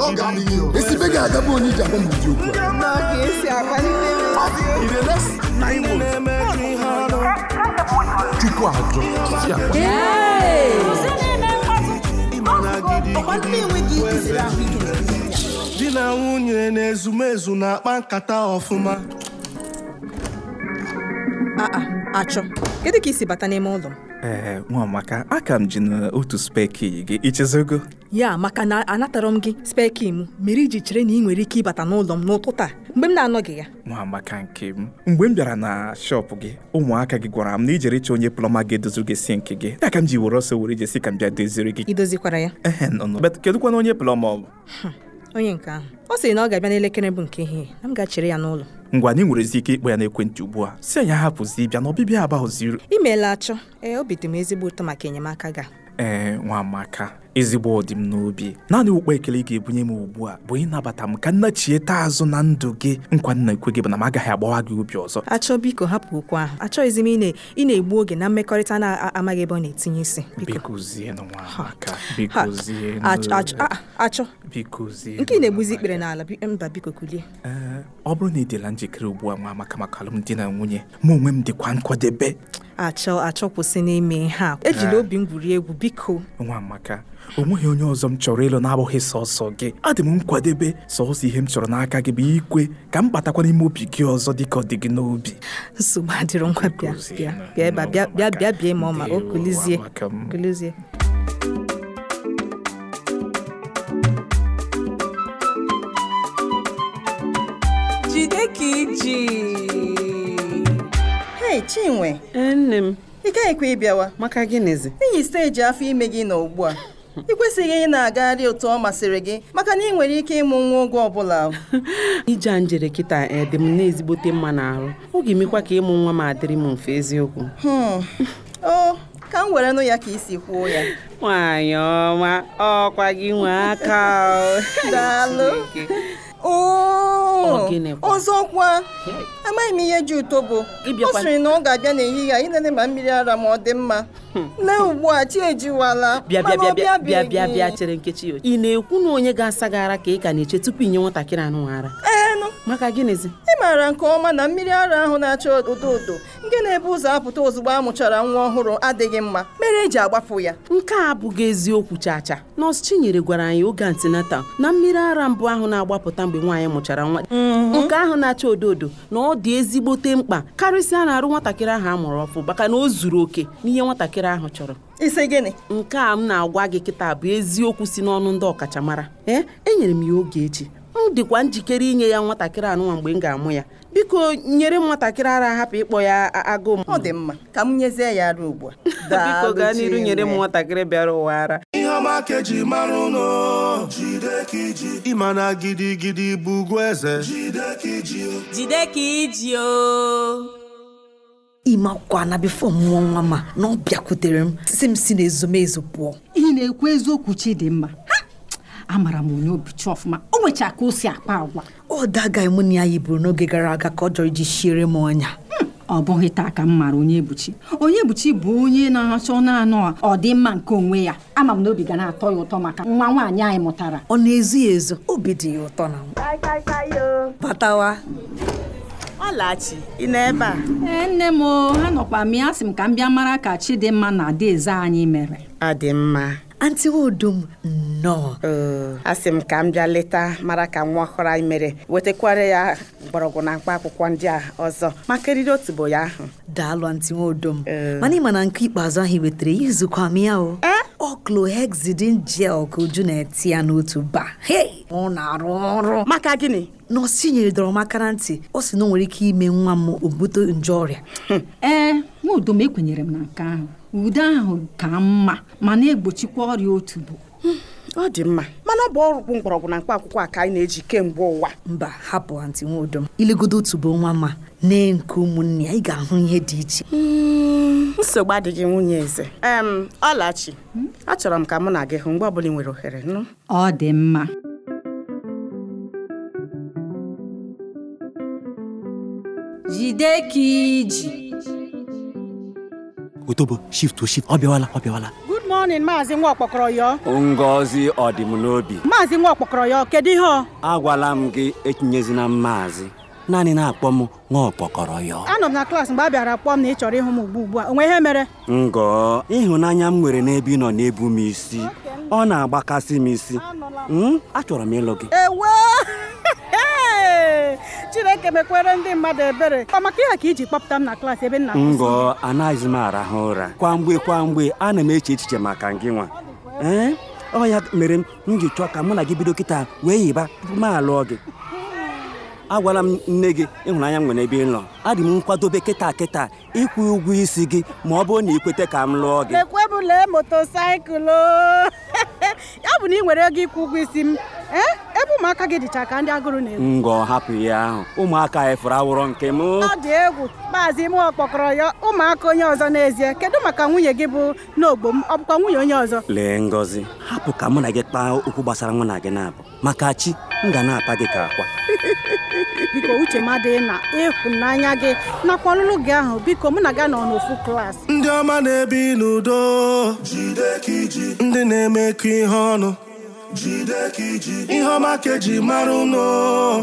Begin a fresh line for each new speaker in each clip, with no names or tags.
Ọ ga-adịghị o. Esi be ga-agabụ onye iji agwa m ụdị okwu a. Na Igbo. Chukwu ajọ, chi akwa.
di na nwunye na ezumezu na-akpa nkata ọfụma
achọ kedu ka isi bata n'ime ụlọ m
ee nwamaka aka m ji n'otu speki gị ichezogo
ya maka na anatara m gị speki m mere iji chere na ị nwere ike ịbata n'ụlọ m n'ụtụtụ a mgbe m na-anọghị ya
nwamaka nke m mgbe m bịara na shọpụ gị ụmụaka gị gwara m na ijere ịchọ onye plọma ga-edoziri gị sink gị ya ka m ji were ọsọ were jesi ka m bịa doziri gị
idozikwara ya
ehe nọ nọ But kedụkwana onye plọma ọ bụ
onye nke ahụ ọ sịrị na ọ ga-abịa n'elekere bụ nke ehihie na m ga-echere ya n'ụlọ
ngwa anyị nwere ike ịkpọ ya n'ekwentị ugbu a si anyị hapụzi ịbịa na ọbịbịa abaghụziri
imeela achọ ee obi dị m ezigbo ụtọ maka enyemaka gị a.
ee nwamaka ezigbo ọdị m n'obi naanị ụkpọ ekele ị ga-ebunye m ugbu a bụ ịnabata m ka nna chieta azụ na ndụ gị nkwa nna ekwe gị bụ na m agaghị agbawa gị obi ọzọ
achọ biko hapụ okwu ahụ achọghịzi m ị na- ị na-egbu oge na mmekọrịta na-amaghị ebe ọ na-etinye isi biko
bikozienụ nwamaka
Ha,
bikozienụ
achọ achọ- a- a- achọ
bikozienụ
nke ị na-egbuzi ikpere n'ala bi- mba biko kulie
Ee, ọ bụrụ na ị dịla njikere ugbu a nwamaka maka alụmdi na nwunye mụ onwe m dịkwa nkwadebe
achọ achọ kwụsị n'ime ha ejila obi m gwurie egwu biko
nwamaka o nweghị onye ọzọ m chọrọ ịlụ na-abụghị sọsọ gị adị m nkwadebe sọsọ ihe m chọrọ n'aka gị bụ ikwe ka m batakwa n'ime obi gị ọzọ dịka ọ dị gị n'obi
nsogbu adịrọ ngwa bịa bịa bịa ebe a, bịa bịa bịa bie ma ọ ma o
Ndewo,
kulizie
nwamaka m.
kulizie
jide ka iji
hei chinwe
ee nne m
ị gaghịkwa ịbịawa
maka gịnịzi
n'ihi steji afọ ime gị nọ ugbu a ị kwesịghị ị na-agagharị otu ọ masịrị gị maka na ị nwere ike ịmụ nwa oge ọbụla
ije a njere kịta ee, dị m na-ezigbote mma n'arụ ọ ga-emekwa ka ịmụ nwa m adịrị m mfe eziokwu
Hmm. o ka m were nụ ya ka isi kwuo ya
nwaanyị ọma ọkwa gị nwee aka o.
Daalụ.
Chineke.
Oo,
Ọ gịnịkwa?
ọzọkwa amaghị m ihe ji ụtọ bụ
Ị
ọ
bịakwa-
sịrị na ọ ga-abịa n'ehihie a ịlele ma mmiri ara ma ọ dị mma lee ugbu a chi ejiwala
Hmm. bịa bịa bịa
mana ọ
bịa
bịabeghị.
bịa bịa bịa chere nkechi ya ị na-ekwu na onye ga-asa gị ara ka ị ka na-eche tupu inye nwatakịrị anụ ara
Ee, nụ.
maka gịnịzi
ị maara nke ọma na mmiri ara ahụ na-acha odo odo nke na-ebu ụzọ apụta ozugbo a mụchara nwa ọhụrụ adịghị mma mere eji agbapụ ya
nke a abụghị eziokwu chacha nọọsụ chinyere gwara anyị oge antinatal na mmiri ara mbụ ahụ na-agbapụta mgbe nwaanyị mụchara nwa nke ahụ na-acha odo odo na ọ dị ezigbote mkpa karịsịa na arụ nwatakịrị ahụ a mụrụ ọfụ maka na o zuru oke n'ihe nwatakịrị ahụ chọrọ
isi gịnị
nke a m na-agwa gị kịta bụ eziokwu si n'ọnụ ndị ọkachamara ee enyere m ya oge echi m dịkwa njikere inye ya nwatakịrị anụnwa mgbe m ga-amụ ya biko nyere m nwatakịrị ara hapụ ịkpọ ya a- agụụ m
ọ dị mma ka m nyezie ya ara ugbu a
biko
Daalụ,
gaa n'iru
Chinwe.
nyere m nwatakịrị bịara ụwa ara
ihe ọma ka eji mara ụlọ jide ka iji ịma na gidigidi bụ ugwu eze jide ka iji
jide ka iji o
ime akwụkwọ na bifo mụọ nwa ma na ọ bịakwutere m si m si n'ezumezu pụọ
ị na-ekwu eziokwu Chidimma Ha! amara m onye obichi ọfụma o nwecha ka o si akpa agwa
ọ daga mụ na ya yiburu n'oge gara aga ka ọ jọrọ iji shiere m ọnya
Hmm, ọ bụghị taa ka m mara onye ebuchi onye ebuchi bụ onye na-achọ naanị ọdịmma nke onwe ya ama m na obi ga na-atọ ya ụtọ maka nwa nwaanyị anyị mụtara
ọ na-ezughị ezu obi dị ya ụtọ na m. batawa
ọlachi ị nọ ebe a
ee E, nne m o, ha nọkwa m ya sị m ka m bịa mara ka Chidimma na adaeze anyị mere
ọ dị mma
antị udum nnọọ
oo asị m ka m bịa leta mara ka nwa ọhụrụ anyị mere wetakwara ya mgbọrọgwụ na mkpa akwụkwọ ndị a ọzọ maka eriri otubo ya ahụ
daalụ antị nwaodom
Ee.
mana ịma na nke ikpeazụ ahụ i wetara ya izukwa m ya
Eh?
o ọ clohexidin gel ka uju na-eti ya n'otu ba hei ọ na-arụ ọrụ
maka gịnị
nọọsụ nyere dọrọ m aka na ntị ọ sị na o nwere ike ime nwa m o bute nje ọrịa
Hmm. Eh,
ee nwaodom ekwenyere m na nke ahụ ude ahụ ka mma ma na-egbochikwa ọrịa otubo
Hmm,
ọ dị mma mana ọ bụ ọrụ mgbọrọgwụ na mkpa akwụkwọ a ka anyị na-eji kemgbe ụwa
mba hapụ antị nwaodom ilegodo otubo nwa ma nee nke ụmụnne ya ị ga-ahụ ihe dị iche
Hmm. nsogbu adịghị nwunye eze em ọlachi achọrọ m ka mụ na gị hụ mgbe ọbụla ị nwere ohere nụ
ọ dị mma
jide ka iji
otobo shift o shift ọ bịawala ọ bịawala
good morning
mọnin maazị nwa ọkpọkọrọ yọọ
ngozi ọdịm n'obi
maazị nwa ọkpọkọrọ yọọ kedu ihe ọ
agwala m gị etinyezina mmaazi naanị na-akpọ m nwa ọkpọkọrọ yọọ
anọ m na klaasị mgbe a bịara kpọọ m na ị chọrọ ịhụ m ugbu ugbu a onwe ihe mere
ngọ ịhụnanya m nwere n'ebe ị nọ na-ebu m isi ọ na-agbakasị m isi Mm, achọrọ m ịlụ gị
ewe chineke mekwere ndị mmadụ ebere ọ maka ihe ka iji kpọpụta m na klaasị ebe m na
ngọ anaghịzi m arahụ ụra kwa mgbe kwa mgbe ana m eche echiche maka gị nwa ee ọ ya mere m m ji chọọ ka mụ na gị bido kịta wee yiba ma alụọ gị agwala m nne gị ịhụnanya m nwere ebe ị nọ adị m nkwadobe kịta kịta ịkwụ ụgwọ isi gị ma ọ bụrụ na ị kweta ka m lụọ gị
ekwebule motosaịkụl o. oh. ya bụ na ị nwere ego ịkwụ ụgwọ isi m ee ebe ụmụaka gị dịcha ka ndị agụrụ na-egwu
ngọ hapụ ya ahụ ụmụaka anyị fụrụ awụrọ nke m
ọ dị egwu maazị mụọ kpọkọrọ ya ụmụaka onye ọzọ n'ezie kedu maka nwunye gị bụ n'ogbo m ọ bụkwa nwunye onye ọzọ
lee ngozi hapụ ka mụ na gị kpaa okwu gbasara mụ na gị na-abụ maka chi m ga na-apa gị ka akwa
biko uche m adịghị na ịhụnanya gị nakwa ọlụlụ gị ahụ biko mụ na gị nọ n'ofu klaasị
ndị ọma na-ebi n'udo jide ka iji ndị na-emekọ ihe ọnụ jide ka iji ihe ọma ka eji mara ụnụ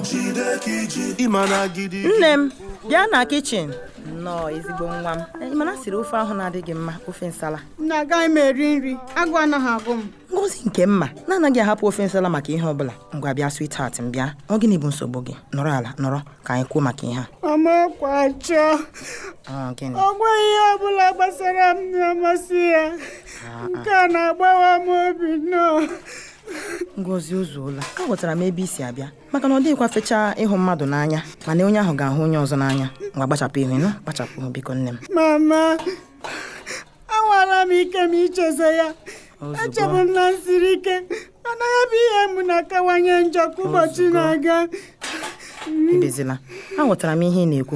jide ka iji ịma na gidi
nne m bịa na kichin nnọọ ezigbo nwa m Ị ma na asịrị ofe ahụ na-adịghị mma ofe nsala
nne agaghị m eri nri agụ anaghị agụ m
ngozi nke mma na-anaghị ahapụ ofe nsala maka ihe ọbụla ngwa bịa sweetheart m bịa ọ gịnị bụ nsogbu gị nọrọ ala nọrọ ka anyị kwuo maka ihe
amakwachọ
a Ọ gịnị
ọ nweghị ihe ọbụla gbasara m na-amasị ya nke a na-agbawa m obi nnọọ
ngozi ozuola aghọtara m ebe i si abịa maka na ọ dịghịkwa fechaa ịhụ mmadụ n'anya mana onye ahụ ga-ahụ onye ọzọ n'anya ngwa gbachapụ ihu ịnụ gbachapụ ihu biko nne m
mama anwala m ike m ichezo ya
Ozugbo.
echebu m na nsiri ike mana ya bụ ihe m na-akawanye njọ ka ụbọchị
Ozugbo.
na-aga
ebezila aghọtara m ihe ị na-ekwu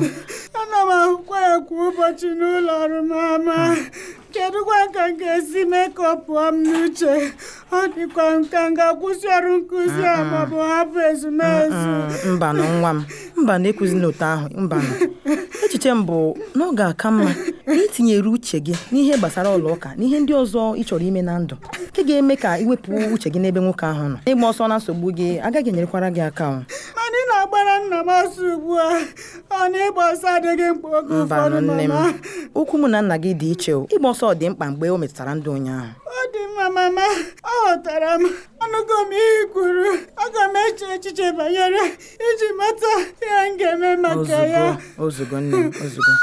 ana m ahụkwa ya kwa ụbọchị n'ụlọ ọrụ mama kedụkwa ka m ga-esi mee ka ọ pụọ m n'uche ọ dịkwa nka m ga-akwụsị ọrụ nkụzi a maọbụ hapụ ezumezu
Mm, mbanụ nwa m mbanụ ekwuzina otu ahụ mbanụ echiche m bụ na ọ ga-aka mma ka itinyere uche gị n'ihe gbasara ụlọ ụka n'ihe ndị ọzọ ị chọrọ ime na ndụ nke ga-eme ka iwepụ uche gị n'ebe nwoke ahụ nọ ịgba ọsọ na nsogbu gị agaghị enyerekwara gị aka ọ.
mana ị na-agbara nna m ọsọ ugbu a ọ na-ịgba ọsọ adịghị mkpa oge ụfọdụ
mbanụ nne m
mama
okwu mụ na nna gị dị iche o ịgba ọsọ dị mkpa mgbe o metụtara ndụ onye ahụ
ọ dị mma mama ọ ghọtara m ọnụgo m ihe i kwuru aga m eche echiche banyere iji mata ihe m ga-eme maka ya
ozugbo ozugbo nne m ozugbo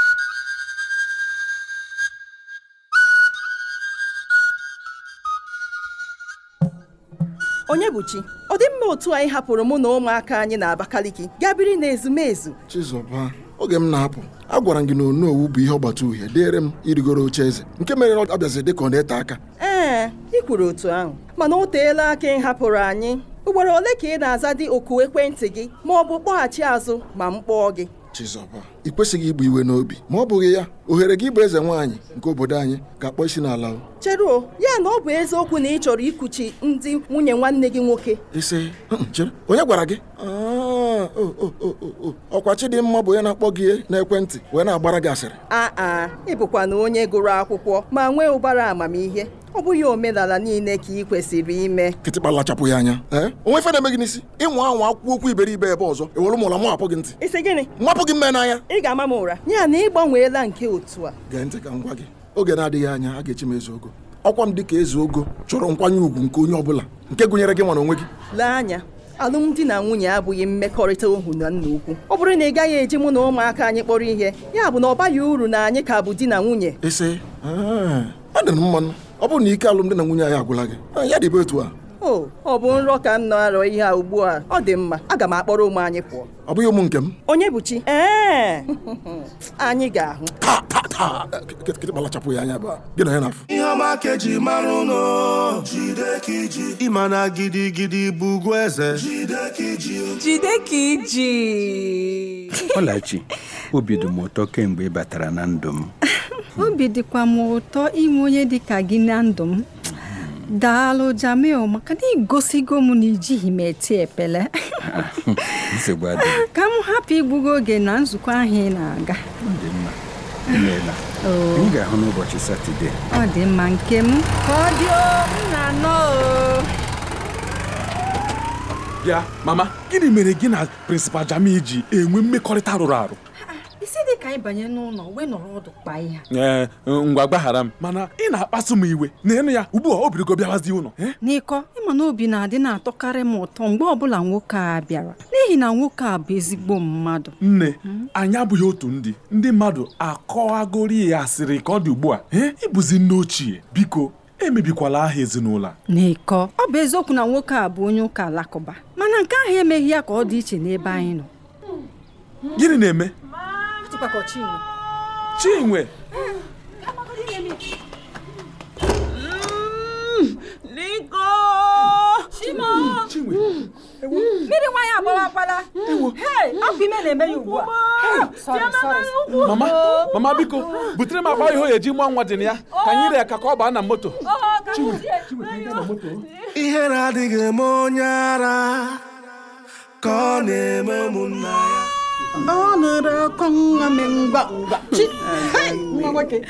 onye bụ chi ọ dị mma otu anyị hapụrụ mụ na ụmụaka anyị na abakaliki gaa biri na ezumezu
Chizọba oge m na-apụ agwara m gị na onowu bụ ihe ọgbata uhie dịịrị m irigoro oche eze nke mere ọ bịazi dị ka ọ na-ete aka
ee ị kwuru otu ahụ mana o teela aka ị hapụrụ anyị ugboro ole ka ị na-aza dị oku ekwentị gị ma ọ bụ kpọghachi azụ ma m kpọọ gị
Chizọba ị kwesịghị igbu iwe n'obi ma ọ bụghị ya ohere gị bụ eze nwaanyị nke obodo anyị ga-akpọ isi n'ala o.
cheruo ya na ọ bụ eziokwu na ị chọrọ ikuchi ndị nwunye nwanne gị nwoke
isi "Mm, chere onye gwara gị "Ah, o, o, o, o, o." ọkwa Chidimma bụ onye na-akpọ gị n'ekwentị wee na-agbara gị asịrị
aa ị bụkwa na onye gụrụ akwụkwọ ma nwee ụbara amamihe ọ bụghị omenala niile ka ị kwesịrị ime
kịtịkpa lachapụ ya anya Eh? ee onwe ife na-eme gị n'isi ịnwa anwa akwụkwọ okwu iberibe ebe ọzọ ewere m ụlọ mụ apụ gị ntị
isi gịnị
mapụ gị mme n'anya
ị ga-ama m ụra ya na ị gbanweela nke otu a
gee ntị ka m gwa gị oge na-adịghị anya a ga-echi m eze ogo ọkwa m dịka eze ogo chọrọ nkwanye ùgwù nke onye ọbụla nke gụnyere gị nwa na onwe gị
lee anya alụmdi na nwunye abụghị mmekọrịta ohu na nna ukwu ọ bụrụ na ị gaghị eji mụ na ụmụaka anyị kpọrọ ihe ya bụ na ọ baghị uru na anyị ka bụ di na nwunye
isi "Ah, ọ dị m mmanụ ọ bụrụ na ike alụmdi na nwunye anyị agwụla gị "Ah, ya dịbe otu a
o ọ bụ nrọ ka m na-arọ ihe a ugbu a ọ dị mma aga m akpọrọ ụmụ anyị pụọ
ọ bụghị ụmụ nke m
onye bụ chi ee anyị ga-ahụ
Ah, kịtịkpa lachapụ ya anya bụ gị na ya na-afụ
ihe ọma ka eji mara ụnụ jide ka iji ịma na gidigidi bụ ugwu eze jide ka iji
jide ka iji
ọlachi obi dị m ụtọ kemgbe ị batara na ndụ m
obi dịkwa m ụtọ inwe onye dị ka gị na ndụ m daalụ jamil maka na igosigo m na ijighị m eti epele
nsogbu adịghị
ka m hapụ igbugo oge na nzukọ ahụ ị na-aga
dị mma imeela anyị ga-ahụ n'ụbọchị satọde
ọ dị mma nke m ka ọ dị o, m na-anọ o.
bịa mama gịnị mere gị na prịnsịpal jami ji enwe mmekọrịta rụrụ arụ
isi dị ka anyị banye n'ụlọ wee nọrọ ọdụ kpaa ihe a.
ee ngwa gbaghara m mana ị na-akpasu m iwe na ịnụ ya ugbu a o birigo bịawazi ụlọ eh?
n'ịkọ ịma na obi na-adị na-atọkarị m ụtọ mgbe ọbụla nwoke a bịara n'ihi na nwoke a bụ ezigbo mmadụ
nne anyị abụghị otu ndị ndị mmadụ akọwagori ya asịrị ka ọ dị ugbu a eh? ịbụzi nne ochie biko emebikwala aha ezinụlọ a.
n'ịkọ ọ bụ eziokwu na nwoke a bụ onye ụka alakụba mana nke ahụ emeghị ya ka ọ dị iche n'ebe anyị nọ
gịnị na-eme chinwe
Mm,
Niko! Chimo!
mmiri nwa ya agbara agbara Hey, afọ ime na-eme ya ugbu a Hey, sorry, sorry.
mama mama biko butere m akpa ihe o ji mụọ nwa dị na ya ka anyị ree ya ka ka ọ baa na moto
ihere adịghị eme onye ara ka ọ na-eme ụmụnna ya
ọ nụrụ ọkụ nwa m ngwa ngwa Chi! Hey, nwa nwoke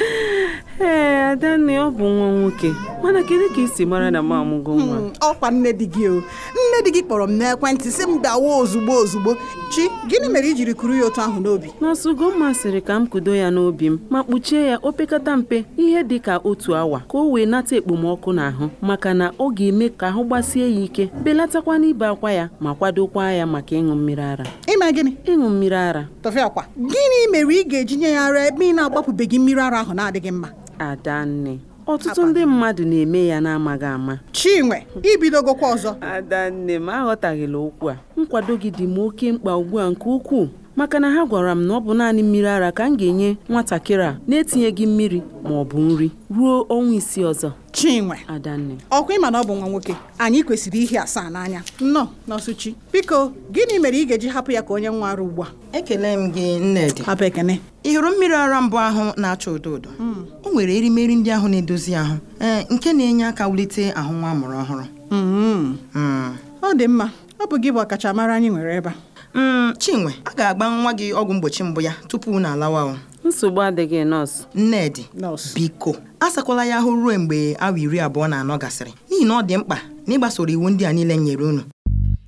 ee adanne ọ bụ nwa nwoke mana kedu ka i si mara na m amụgo nwa
Mm, ọkwa nne di gị o nne di gị kpọrọ m n'ekwentị sị m dawa ozugbo ozugbo chi gịnị mere i jiri kuru ya otu ahụ n'obi
nọọsụ Ugomma sịrị ka m kudo ya n'obi m ma kpuchie ya opekata mpe ihe dị ka otu awa ka o wee nata ekpomọkụ n'ahụ maka na ọ ga-eme ka ahụ gbasie ya ike belatakwa n'ibe akwa ya ma kwadokwa ya maka ịṅụ mmiri ara
ịma gịnị
ịṅụ mmiri ara
tọfịakwa gịnị mere ị ga-eji nye ya ara ebe ị na-agbapụbeghị mmiri ara ahụ na-adịghị mma
adanne ọtụtụ ndị mmadụ na-eme ya n'amaghị ama
chinwe ibidogokwa ọzọ
adanne m aghọtaghịla okwu a nkwado gị dị m oke mkpa ugbu a nke ukwuu maka na ha gwara m na ọ bụ naanị mmiri ara ka m ga-enye nwatakịrị a na-etinyeghị mmiri ma ọ bụ nri ruo ọnwa isii ọzọ
chinwe
adanne
ọkwa ịma na ọ bụ nwa nwoke anyị kwesịrị ihe asaa n'anya nnọọ nọọsụ chi biko gịnị mere ị ga-eji hapụ ya ka onye nwa ara ugbu a
ekele m gị nnedi
hapụ ekene
ị hụrụ mmiri ara mbụ ahụ na-acha odo odo
Hmm.
o nwere erimeri ndị ahụ na-edozi ahụ ee, nke na-enye aka wulite ahụ nwa amụrụ ọhụrụ Mm.
Mm-hmm. ọ dị mma ọ bụ gị bụ ọkachamara anyị nwere ebe a
Mm, chinwe a ga-agba nwa gị ọgwụ mgbochi mbụ ya tupu na alawa o
nsogbu adịghị nọọsụ
nnedi biko asakwala ya ahụ ruo mgbe awa iri abụọ na anọ gasịrị n'ihi na ọ dị mkpa na ịgbasoro iwu ndị a niile m nyere unu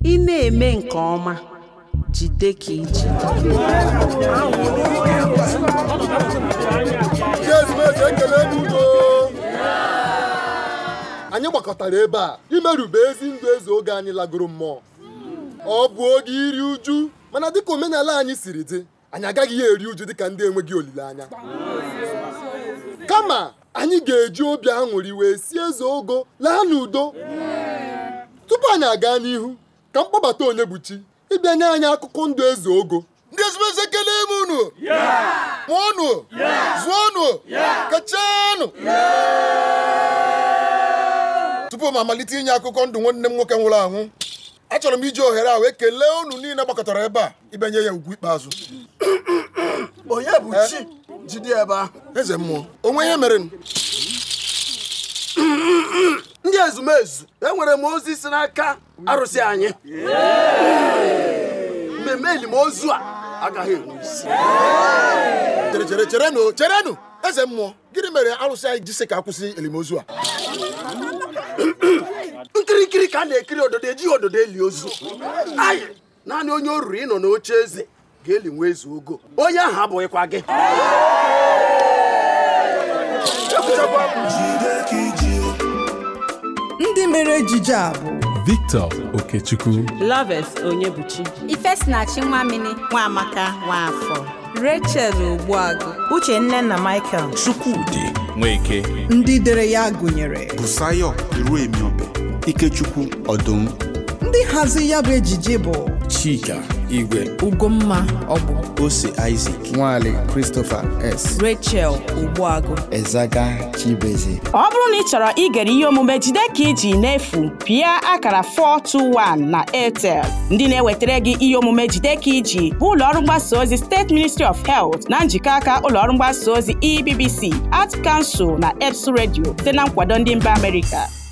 ị na-eme nke ọma jide ka iji
Ndị ezumezu ekele n'udo anyị gbakọtara ebe a imerube ezi ndụ eze oge anyị lagoro mmụọ ọ bụ oge iri uju mana dịka omenala anyị siri dị anyị agaghị ya eri uju dịka ndị enweghị olileanya kama anyị ga-eji obi aṅụrị wee si eze ogo laa n'udo tupu anyị aga n'ihu ka m kpọbata onye bụ chi ịbịa nye anyị akụkọ ndụ eze ogo ndị ezumezu ekele m unu mụọnụ zụọnụ kachanụ tupu m amalite inye akụkọ ndụ nwanne m nwoke nwụrụ anwụ achọrọ m iji ohere a wee kelee unu niile gbakọtara ebe a ịbịanye ya ugwu ikpeazụ onye bụ chi jide ebe ahụ eze mmụọ onwe ihe mere
ndị ezumezu enwere m ozi si n'aka arụsị anyị mmemme elime ozu a agaghị enwe isi
chere chere cherenụ cherenụ eze mmụọ gịnị mere arụsị anyị ji sị ka akwụsị elimozu a
nkirikiri ka a na-ekiri ododo ejighị ododo eli ozu anyị naanị onye o ruru ịnọ n'oche eze ga-eli nwa eze ogo onye ahụ abụghịkwa gị Ekwuchakwa m.
ndị mere ejije a bụ
Victor Okechukwu
Loves Onyebuchi
Ifesinachi Nwamini Nwamaka Nwafọ Rachel Ogbuagụ Uche nne na Michael
Chukwudi Nweke
ndị dere ya gụnyere
Busayo Iruemiobe Ikechukwu Ọdụm
ndị hazi ya bụ ejije bụ
Chika Igwe
Ugomma Ọgbụ
Ose Isaac Nwale Christopher S
Rachel Ogbuagụ
Ezaga Chibeze
ọ bụrụ na ị chọrọ igere ihe omume jide ka iji n'efu pịa akara 421 na airtel ndị na-ewetara gị ihe omume jide ka iji bụ ụlọọrụ mgbasa ozi steeti ministry of health na njikọ aka ụlọọrụ E mgbasa ozi ebbc art council na eps radio site na nkwado ndị mba amerịka